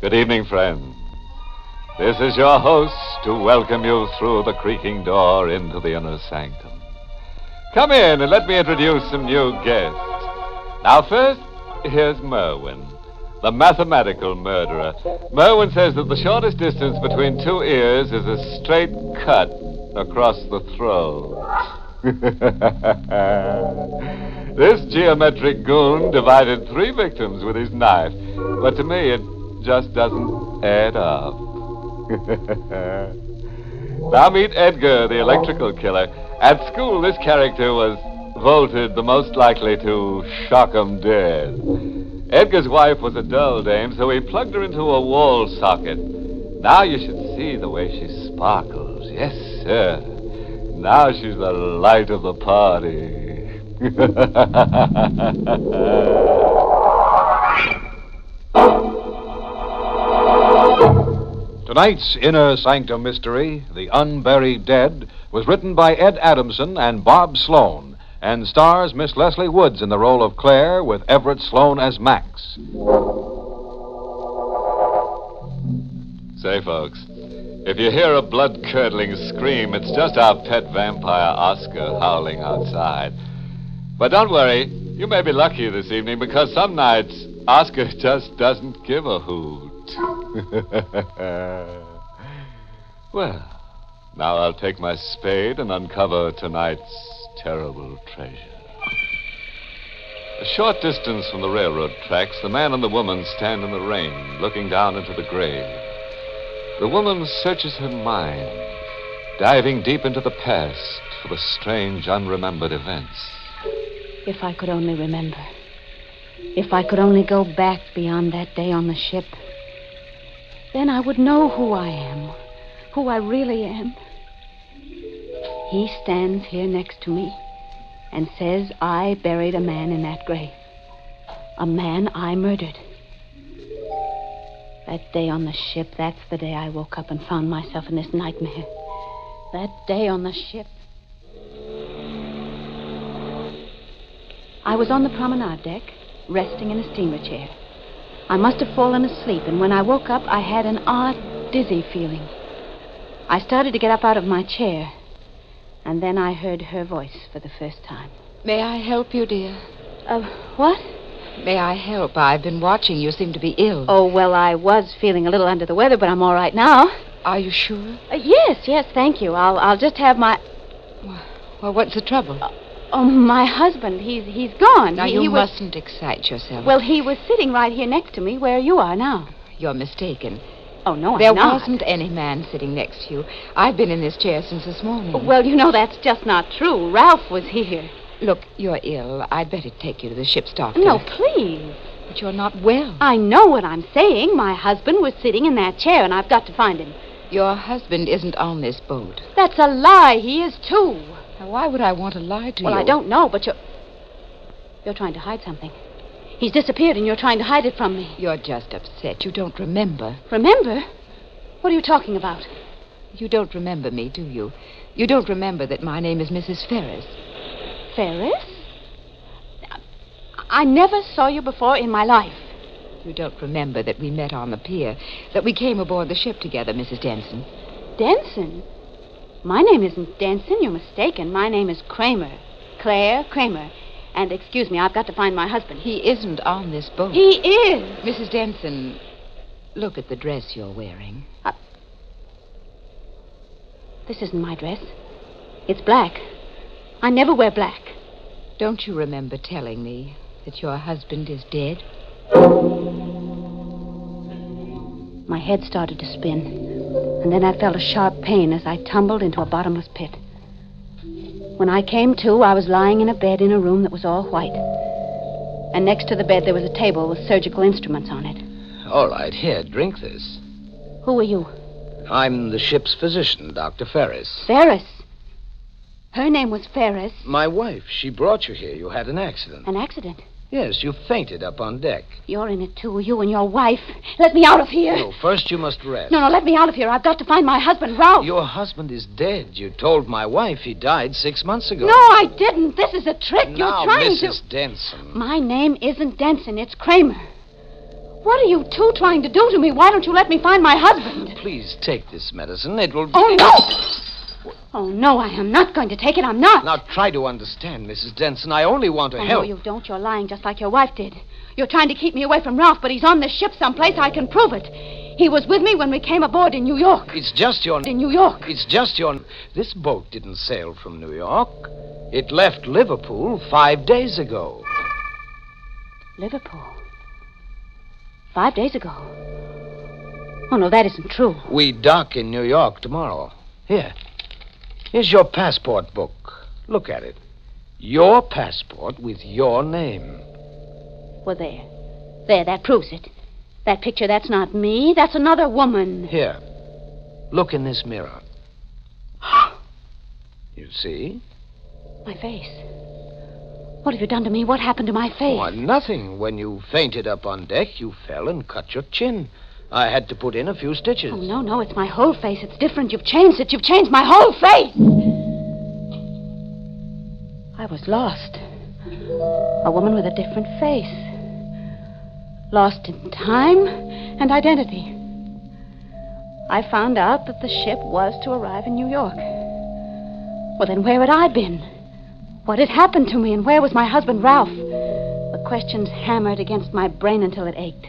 Good evening, friends. This is your host to welcome you through the creaking door into the inner sanctum. Come in and let me introduce some new guests. Now, first, here's Merwin, the mathematical murderer. Merwin says that the shortest distance between two ears is a straight cut across the throat. this geometric goon divided three victims with his knife, but to me, it just doesn't add up. now meet Edgar, the electrical killer. At school, this character was voted the most likely to shock 'em dead. Edgar's wife was a dull dame, so he plugged her into a wall socket. Now you should see the way she sparkles. Yes, sir. Now she's the light of the party. Tonight's Inner Sanctum Mystery, The Unburied Dead, was written by Ed Adamson and Bob Sloan and stars Miss Leslie Woods in the role of Claire with Everett Sloan as Max. Say, folks, if you hear a blood curdling scream, it's just our pet vampire Oscar howling outside. But don't worry, you may be lucky this evening because some nights Oscar just doesn't give a hoot. Uh, well, now I'll take my spade and uncover tonight's terrible treasure. A short distance from the railroad tracks, the man and the woman stand in the rain, looking down into the grave. The woman searches her mind, diving deep into the past for the strange, unremembered events. If I could only remember. If I could only go back beyond that day on the ship. Then I would know who I am, who I really am. He stands here next to me and says I buried a man in that grave. A man I murdered. That day on the ship, that's the day I woke up and found myself in this nightmare. That day on the ship. I was on the promenade deck, resting in a steamer chair. I must have fallen asleep, and when I woke up, I had an odd, dizzy feeling. I started to get up out of my chair, and then I heard her voice for the first time. May I help you, dear? Uh, what? May I help? I've been watching. You seem to be ill. Oh, well, I was feeling a little under the weather, but I'm all right now. Are you sure? Uh, yes, yes, thank you. I'll, I'll just have my. Well, what's the trouble? Oh, my husband. He's he's gone. now, he, you he was. mustn't excite yourself. Well, he was sitting right here next to me, where you are now. You're mistaken. Oh no, there I'm not. wasn't any man sitting next to you. I've been in this chair since this morning. Mm. Well, you know that's just not true. Ralph was here. Look, you're ill. I'd better take you to the ship's doctor. No, please. But you're not well. I know what I'm saying. My husband was sitting in that chair, and I've got to find him. Your husband isn't on this boat. That's a lie. He is too. Now, why would I want to lie to Well, you? I don't know, but you're you're trying to hide something. He's disappeared, and you're trying to hide it from me. You're just upset. You don't remember. Remember? What are you talking about? You don't remember me, do you? You don't remember that my name is Mrs. Ferris. Ferris? I never saw you before in my life. You don't remember that we met on the pier, that we came aboard the ship together, Mrs. Denson. Denson? My name isn't Denson. You're mistaken. My name is Kramer. Claire Kramer. And excuse me, I've got to find my husband. He, He isn't on this boat. he is. Mrs. Denson, look at the dress you're wearing. This isn't my dress. It's black. I never wear black. Don't you remember telling me that your husband is dead? My head started to spin, and then I felt a sharp pain as I tumbled into a bottomless pit. When I came to, I was lying in a bed in a room that was all white. And next to the bed, there was a table with surgical instruments on it. All right, here, drink this. Who are you? I'm the ship's physician, Dr. Ferris. Ferris. Her name was Ferris. My wife, she brought you here. You had an accident. An accident. Yes, you fainted up on deck. You're in it too, you and your wife. Let me out of here. No, first you must rest. No, no, let me out of here. I've got to find my husband, Ralph. Your husband is dead. You told my wife he died six months ago. No, I didn't. This is a trick. now, You're trying Mrs. Denson. to. My name isn't Denson, it's Kramer. What are you two trying to do to me? Why don't you let me find my husband? Please take this medicine. It will. Oh, no! Oh, no, I am not going to take it. I'm not. Now try to understand, Mrs. Denson. I only want to Oh, help. No, you don't. You're lying just like your wife did. You're trying to keep me away from Ralph, but he's on the ship someplace. I can prove it. He was with me when we came aboard in New York. It's just your. In New York. It's just your. This boat didn't sail from New York. It left Liverpool five days ago. Liverpool. Five days ago. Oh, no, that isn't true. We dock in New York tomorrow. Here. Here's your passport book. Look at it. Your passport with your name. Well, there. There, that proves it. That picture, that's not me. That's another woman. Here. Look in this mirror. You see? My face. What have you done to me? What happened to my face? Why, nothing. When you fainted up on deck, you fell and cut your chin. I had to put in a few stitches. Oh, no, no, it's my whole face. It's different. You've changed it. You've changed my whole face. I was lost. A woman with a different face. Lost in time and identity. I found out that the ship was to arrive in New York. Well, then where had I been? What had happened to me, and where was my husband, Ralph? The questions hammered against my brain until it ached.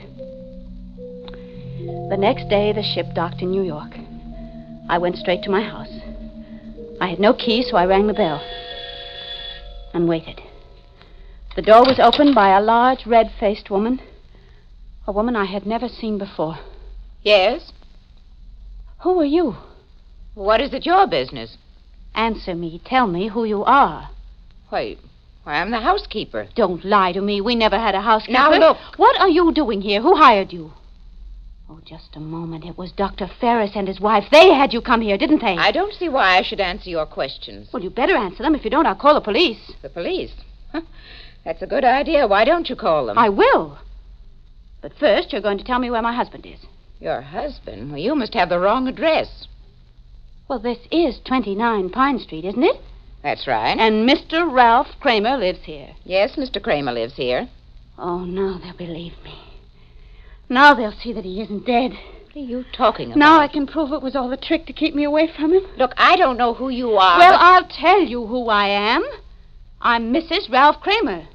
The next day, the ship docked in New York. I went straight to my house. I had no key, so I rang the bell and waited. The door was opened by a large, red faced woman, a woman I had never seen before. Yes? Who are you? What is it your business? Answer me. Tell me who you are. Why, why I'm the housekeeper. Don't lie to me. We never had a housekeeper. Now, look. What are you doing here? Who hired you? Oh, just a moment. It was Dr. Ferris and his wife. They had you come here, didn't they? I don't see why I should answer your questions. Well, you better answer them. If you don't, I'll call the police. The police? Huh. That's a good idea. Why don't you call them? I will. But first, you're going to tell me where my husband is. Your husband? Well, you must have the wrong address. Well, this is 29 Pine Street, isn't it? That's right. And Mr. Ralph Kramer lives here. yes, Mr. Kramer lives here. Oh, now they'll believe me. Now they'll see that he isn't dead. What are you talking about? Now I can prove it was all a trick to keep me away from him. Look, I don't know who you are. well, but- I'll tell you who I am. I'm Mrs. Ralph Kramer.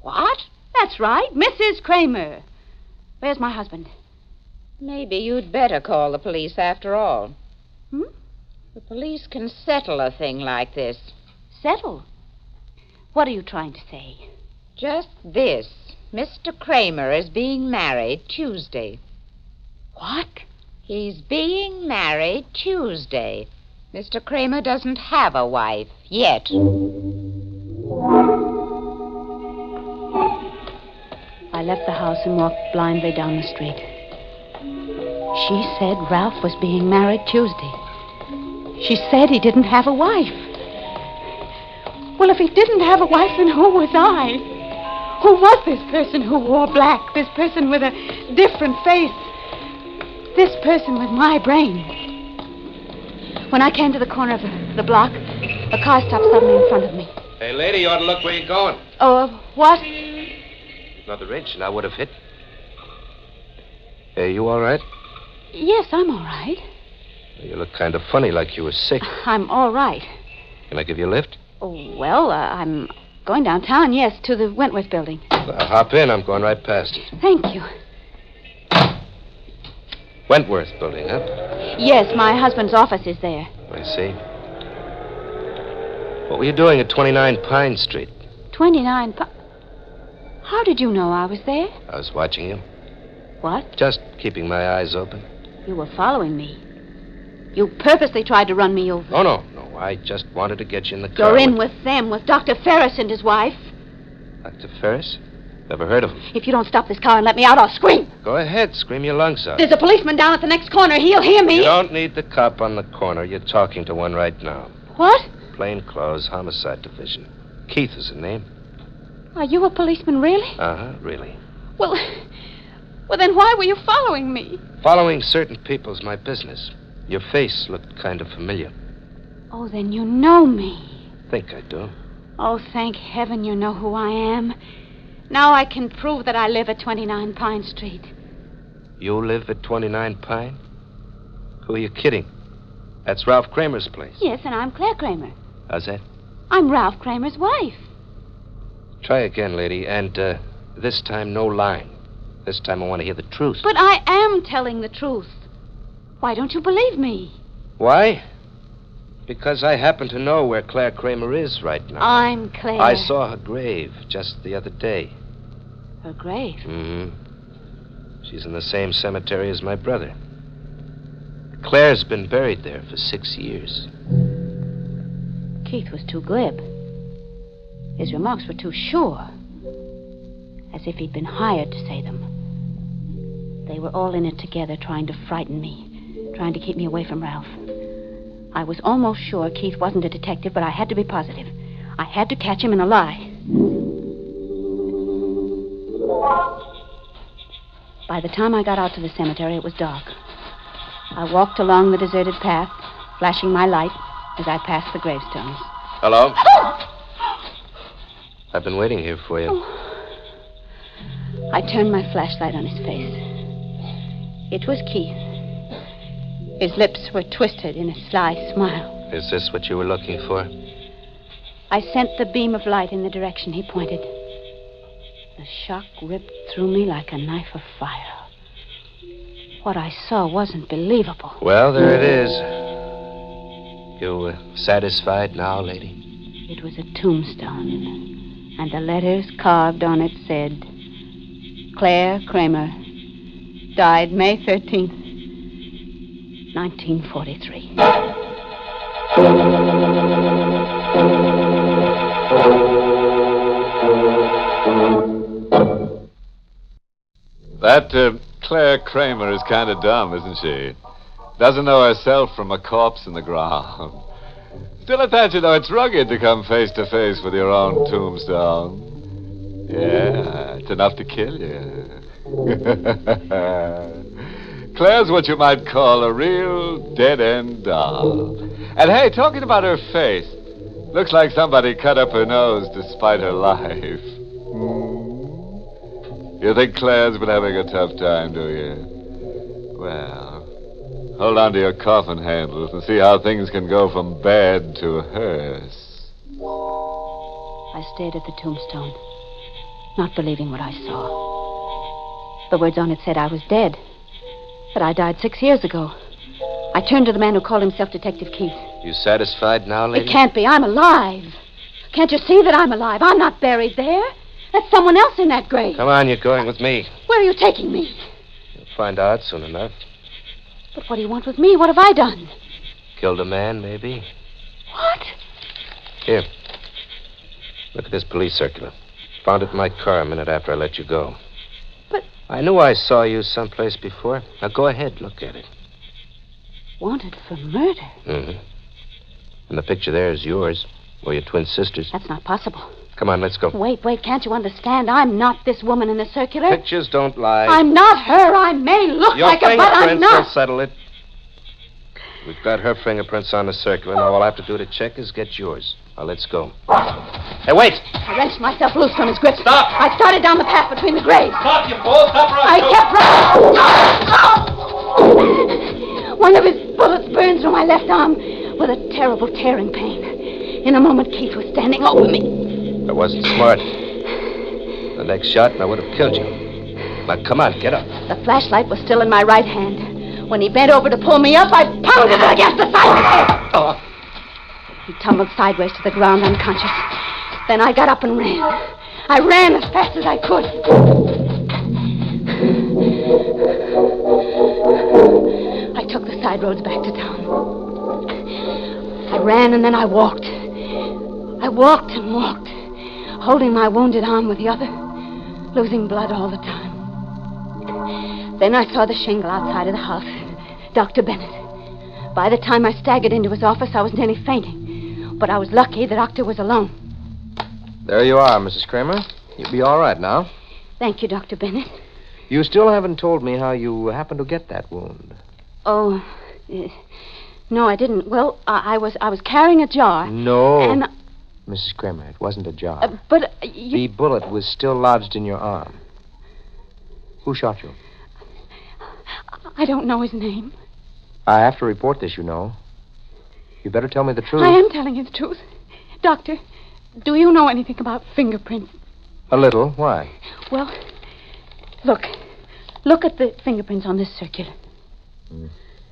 What? That's right, Mrs. Kramer. Where's my husband? Maybe you'd better call the police after all. Hmm? The police can settle a thing like this. Settle. What are you trying to say? Just this. Mr. Kramer is being married Tuesday. What? He's being married Tuesday. Mr. Kramer doesn't have a wife yet. I left the house and walked blindly down the street. She said Ralph was being married Tuesday. She said he didn't have a wife. Well, if he didn't have a wife, then who was I? Who was this person who wore black? This person with a different face? This person with my brain? When I came to the corner of the, the block, a car stopped suddenly in front of me. Hey, lady, you ought to look where you're going. Oh, uh, what? Another wrench, and I would have hit. Hey, you all right? Yes, I'm all right. You look kind of funny, like you were sick. I'm all right. Can I give you a lift? Oh, well, uh, I'm going downtown, yes, to the Wentworth building. Now, hop in. I'm going right past it. Thank you. Wentworth Building, huh? Yes, my husband's office is there. I see. What were you doing at 29 Pine Street? 29 Pa- How did you know I was there? I was watching you. What? Just keeping my eyes open. You were following me. You purposely tried to run me over. Oh, no, no. I just wanted to get you in the car. You're in with them, with Dr. Ferris and his wife. Dr. Ferris? Never heard of him. If you don't stop this car and let me out, I'll scream. Go ahead. Scream your lungs out. There's a policeman down at the next corner. He'll hear me. You don't need the cop on the corner. You're talking to one right now. What? Plainclothes Homicide Division. Keith is the name. Are you a policeman, really? Uh huh, really. Well, well, then why were you following me? Following certain people's my business. Your face looked kind of familiar. Oh, then you know me. Think I do. Oh, thank heaven you know who I am. Now I can prove that I live at 29 Pine Street. You live at 29 Pine? Who are you kidding? That's Ralph Kramer's place. Yes, and I'm Claire Kramer. How's that? I'm Ralph Kramer's wife. Try again, lady, and uh, this time no lying. This time I want to hear the truth. But I am telling the truth. Why don't you believe me? Why? Because I happen to know where Claire Kramer is right now. I'm Claire. I saw her grave just the other day. Her grave. Mm-hmm. She's in the same cemetery as my brother. Claire's been buried there for six years. Keith was too glib. His remarks were too sure. As if he'd been hired to say them. They were all in it together, trying to frighten me, trying to keep me away from Ralph. I was almost sure Keith wasn't a detective, but I had to be positive. I had to catch him in a lie. By the time I got out to the cemetery, it was dark. I walked along the deserted path, flashing my light as I passed the gravestones. Hello? I've been waiting here for you. I turned my flashlight on his face. It was Keith. His lips were twisted in a sly smile. Is this what you were looking for? I sent the beam of light in the direction he pointed. The shock ripped through me like a knife of fire. What I saw wasn't believable. Well, there it is. You uh, satisfied now, lady? It was a tombstone, and the letters carved on it said, Claire Kramer, died May 13th, 1943. That uh, Claire Kramer is kind of dumb, isn't she? Doesn't know herself from a corpse in the ground. Still, I thought you know it's rugged to come face to face with your own tombstone. Yeah, it's enough to kill you. Claire's what you might call a real dead end doll. And hey, talking about her face, looks like somebody cut up her nose to spite her life. Hmm. You think Claire's been having a tough time, do you? Well, hold on to your coffin handles and see how things can go from bad to worse. I stared at the tombstone, not believing what I saw. The words on it said I was dead, that I died six years ago. I turned to the man who called himself Detective Keith. You satisfied now, lady? It can't be. I'm alive. Can't you see that I'm alive? I'm not buried there. That's someone else in that grave. Come on, you're going with me. Where are you taking me? You'll find out soon enough. But what do you want with me? What have I done? Killed a man, maybe. What? Here. Look at this police circular. Found it in my car a minute after I let you go. But- I knew I saw you someplace before. Now go ahead, look at it. Wanted for murder? Mm-hmm. And the picture there is yours, or your twin sister's. That's not possible. Come on, let's go. Wait, wait, can't you understand? I'm not this woman in the circular. Pictures don't lie. I'm not her. I may look Your like her, but I'm fingerprints will not. settle it. We've got her fingerprints on the circular. Now all I have to do to check is get yours. Now let's go. Hey, wait! I wrenched myself loose from his grip. Stop! I started down the path between the graves. Stop, you fool! Stop I kept running. One of his bullets burned through my left arm with a terrible tearing pain. In a moment, Keith was standing over me. I wasn't smart. The next shot, and I would have killed you. Now come on, get up. The flashlight was still in my right hand. When he bent over to pull me up, I pounded it against the side of the head. He tumbled sideways to the ground unconscious. Then I got up and ran. I ran as fast as I could. I took the side roads back to town. I ran and then I walked. I walked and walked, holding my wounded arm with the other, losing blood all the time. Then I saw the shingle outside of the house. Dr. Bennett. By the time I staggered into his office, I was nearly fainting. But I was lucky the doctor was alone. There you are, Mrs. Kramer. You'll be all right now. Thank you, Dr. Bennett. You still haven't told me how you happened to get that wound. Oh, eh, no, I didn't. Well, I, I was I was carrying a jar, Mm. No. and Mrs. Kramer, it wasn't a Oh. jar. uh, but uh, you, The bullet was still lodged in your arm. Who shot you? I don't know his name. I have to report this, you know. You better tell me the truth. I am telling you the truth. Doctor, do you know anything about fingerprints? A little. Why? Well, look. Look at the fingerprints on this circular.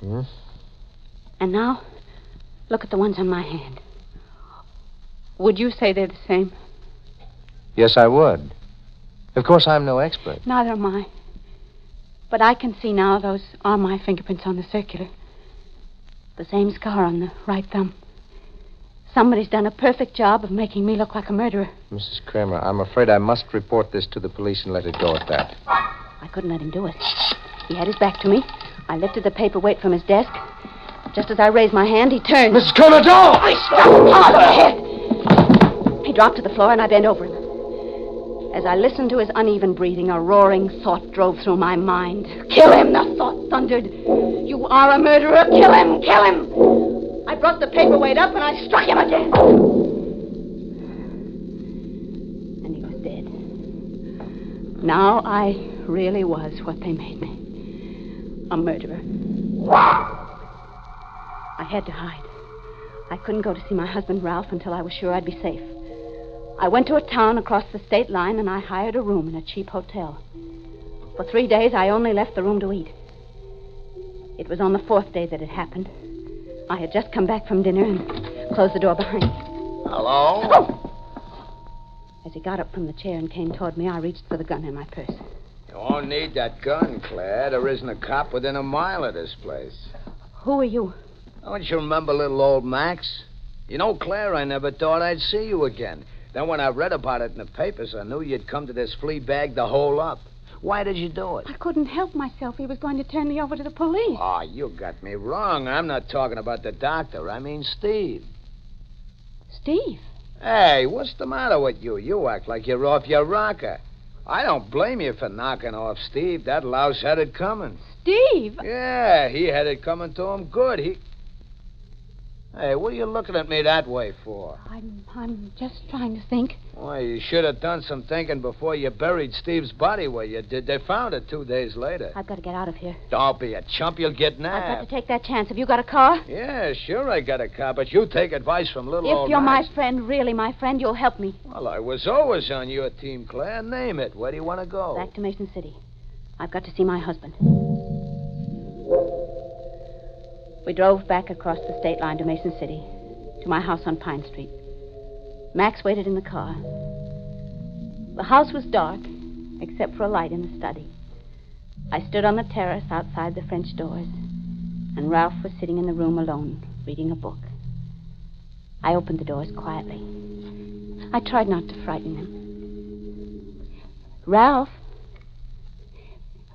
Mhm. And now, look at the ones on my hand. Would you say they're the same? Yes, I would. Of course, I'm no expert. Neither am I. But I can see now those are my fingerprints on the circular. The same scar on the right thumb. Somebody's done a perfect job of making me look like a murderer. Mrs. Kramer, I'm afraid I must report this to the police and let it go at that. I couldn't let him do it. He had his back to me. I lifted the paperweight from his desk. Just as I raised my hand, he turned. Mrs. Kramer, don't! I struck him hard on the head. He dropped to the floor, and I bent over him. As I listened to his uneven breathing, a roaring thought drove through my mind. Kill him, the thought thundered. You are a murderer. Kill him, kill him. I brought the paperweight up, and I struck him again. And he was dead. Now I really was what they made me a murderer. I had to hide. I couldn't go to see my husband Ralph until I was sure I'd be safe. I went to a town across the state line and I hired a room in a cheap hotel. For three days, I only left the room to eat. It was on the fourth day that it happened. I had just come back from dinner and closed the door behind me. Hello? As he got up from the chair and came toward me, I reached for the gun in my purse. You won't need that gun, Claire. There isn't a cop within a mile of this place. Who are you? Don't you remember little old Max? You know, Claire, I never thought I'd see you again. Then when I read about it in the papers, I knew you'd come to this flea bag to hole up. Why did you do it? I couldn't help myself. He was going to turn me over to the police. Oh, you got me wrong. I'm not talking about the doctor. I mean Steve. Steve. Hey, what's the matter with you? You act like you're off your rocker. I don't blame you for knocking off Steve. That louse had it coming. Steve! Yeah, he had it coming to him good. He. Hey, what are you looking at me that way for? I'm, I'm just trying to think. Why, you should have done some thinking before you buried Steve's body where you did. They found it two days later. I've got to get out of here. Don't be a chump. You'll get I've got to nabbed. take that chance. Have you got a car? Yeah, sure, I got a car, but you take advice from little if old you're Max. my friend, really my friend, you'll help me. Well, I was always on your team, Claire. Name it. Where do you want to go? Back to Mason City. I've got to see my husband. We drove back across the state line to Mason City, to my house on Pine Street. Max waited in the car. The house was dark, except for a light in the study. I stood on the terrace outside the French doors, and Ralph was sitting in the room alone, reading a book. I opened the doors quietly. I tried not to frighten him. Ralph,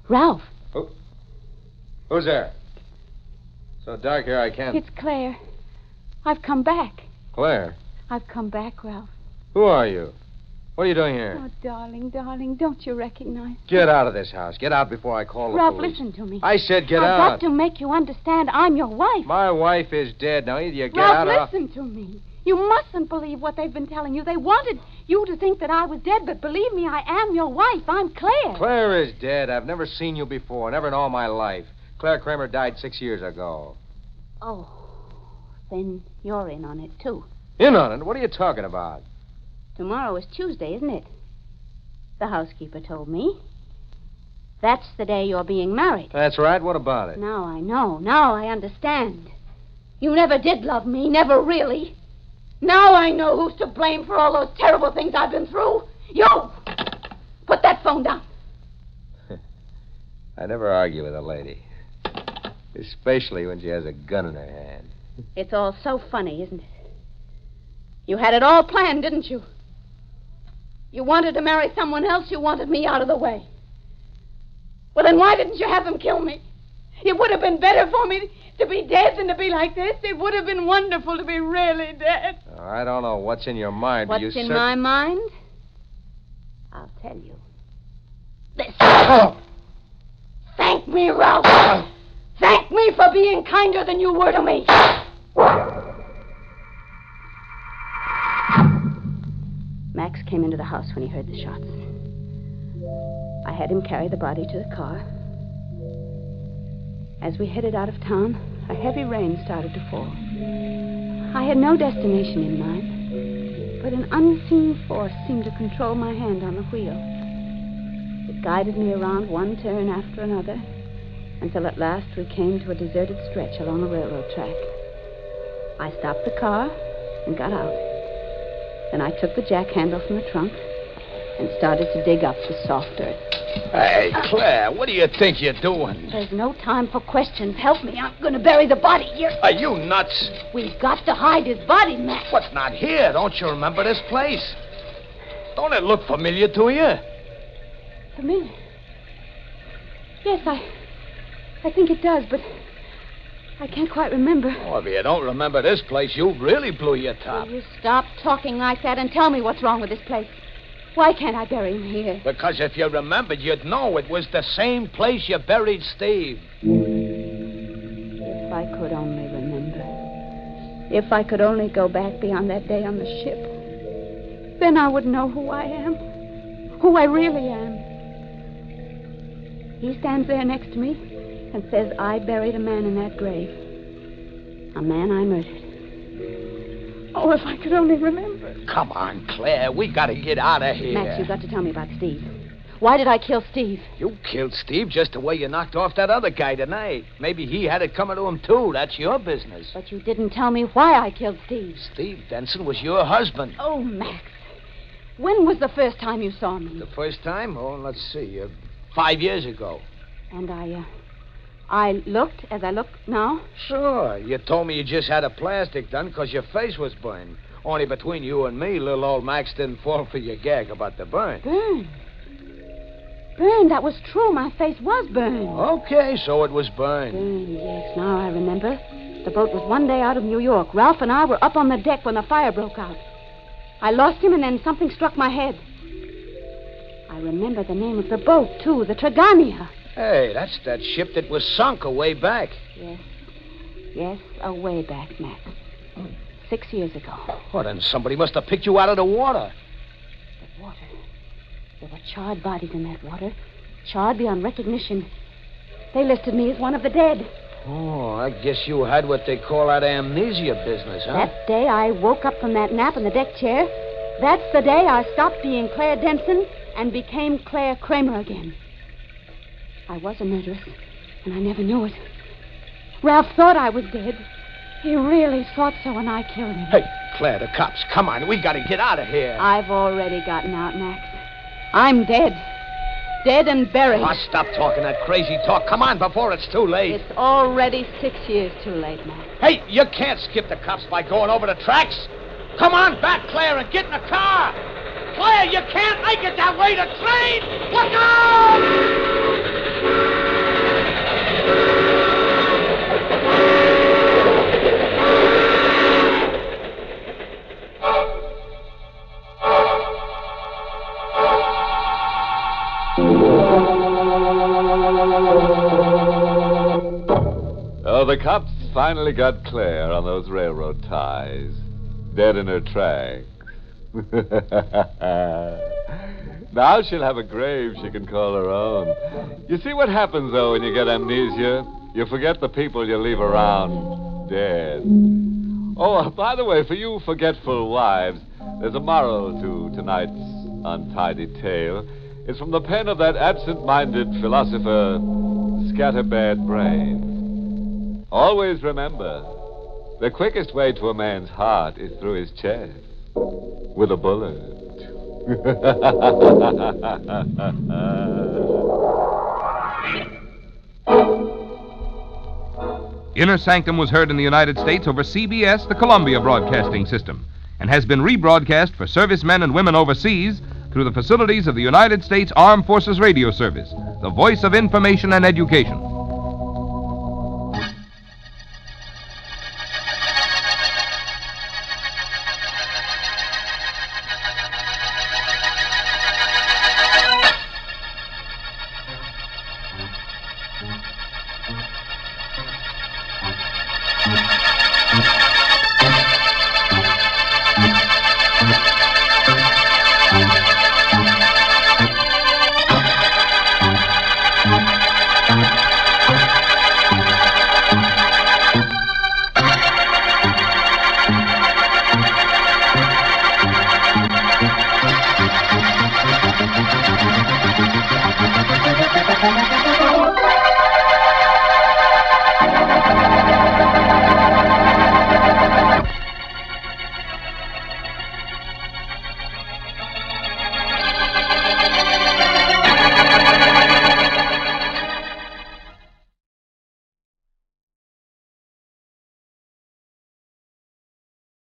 Ralph, Who's there? So dark here, I can't. it's Claire. I've come back. Claire, I've come back, Ralph. who are you? What are you doing here? Oh, darling, darling, don't you recognize? Get out of this house. Get out before I call the Ralph, police. listen to me. I said get I've out. got to make you understand I'm your wife. My wife is dead. Now either you get out Ralph, or listen to me. You mustn't believe what they've been telling you. They wanted you to think that I was dead, but believe me, I am your wife. I'm Claire. Claire is dead. I've never seen you before, never in all my life. Claire Kramer died six years ago. Oh, then you're in on it, too. In on it? What are you talking about? Tomorrow is Tuesday, isn't it? The housekeeper told me. That's the day you're being married. That's right. What about it? Now I know. Now I understand. You never did love me, never really. Now I know who's to blame for all those terrible things I've been through. You! Put that phone down. I never argue with a lady, especially when she has a gun in her hand. It's all so funny, isn't it? You had it all planned, didn't you? You wanted to marry someone else, you wanted me out of the way. Well, then why didn't you have them kill me? It would have been better for me to be dead than to be like this. It would have been wonderful to be really dead. Now, I don't know what's in your mind, but What's you in cer- my mind? I'll tell you. This. Thank me, Ralph. Thank me for being kinder than you were to me. Max came into the house when he heard the shots. I had him carry the body to the car. As we headed out of town, a heavy rain started to fall. I had no destination in mind, but an unseen force seemed to control my hand on the wheel. It guided me around one turn after another until at last we came to a deserted stretch along a railroad track. I stopped the car and got out. Then I took the jack handle from the trunk and started to dig up the soft dirt. Hey, Claire, what do you think you're doing? There's no time for questions. Help me. I'm going to bury the body here. Are you nuts? We've got to hide his body, Matt. What's not here? Don't you remember this place? Don't it look familiar to you? For me? Yes, I. I think it does, but I can't quite remember. Well, Oh, if you don't remember this place, you really blew your top. Oh, Will you stop talking like that and tell me what's wrong with this place? Why can't I bury him here? Because if you remembered, you'd know it was the same place you buried Steve. If I could only remember. If I could only go back beyond that day on the ship, then I would know who I am, who I really am. He stands there next to me and says, I buried a man in that grave. A man I murdered. Oh, if I could only remember. Come on, Claire, we gotta get out of here. Max, you've got to tell me about Steve. Why did I kill Steve? You killed Steve just the way you knocked off that other guy tonight. Maybe he had it coming to him, too. That's your business. But you didn't tell me why I killed Steve. Steve Denson was your husband. Oh, Max. When was the first time you saw me? The first time? Oh, let's see. Uh, five years ago. And I, uh, I looked as I look now. Sure. You told me you just had a plastic done because your face was burned. Only between you and me, little old Max didn't fall for your gag about the burn. Burned. Burned. That was true. My face was burned. Okay, so it was burned. Burned, yes. Now I remember. The boat was one day out of New York. Ralph and I were up on the deck when the fire broke out. I lost him, and then something struck my head. I remember the name of the boat, too, the Trigania. Hey, that's that ship that was sunk away back. Yes. Yes, away back, Max. Six years ago. Well, then somebody must have picked you out of the water. The water. There were charred bodies in that water, charred beyond recognition. They listed me as one of the dead. Oh, I guess you had what they call that amnesia business, huh? That day I woke up from that nap in the deck chair. That's the day I stopped being Claire Denson and became Claire Kramer again. I was a murderess, and I never knew it. Ralph thought I was dead. He really thought so, and I killed him. Hey, Claire, the cops. Come on, we gotta get out of here. I've already gotten out, Max. I'm dead. Dead and buried. Oh, stop talking that crazy talk. Come on, before it's too late. It's already six years too late, Max. Hey, you can't skip the cops by going over the tracks. Come on back, Claire, and get in the car. Claire, you can't make it that way. The train! Look out! Oh, the cops finally got Claire on those railroad ties. Dead in her tracks. now she'll have a grave she can call her own. You see what happens, though, when you get amnesia? You forget the people you leave around dead. Oh, by the way, for you forgetful wives, there's a moral to tonight's untidy tale. It's from the pen of that absent minded philosopher, Scatterbird Brains. Always remember, the quickest way to a man's heart is through his chest with a bullet. Inner Sanctum was heard in the United States over CBS, the Columbia Broadcasting System, and has been rebroadcast for servicemen and women overseas through the facilities of the United States Armed Forces Radio Service, the voice of information and education.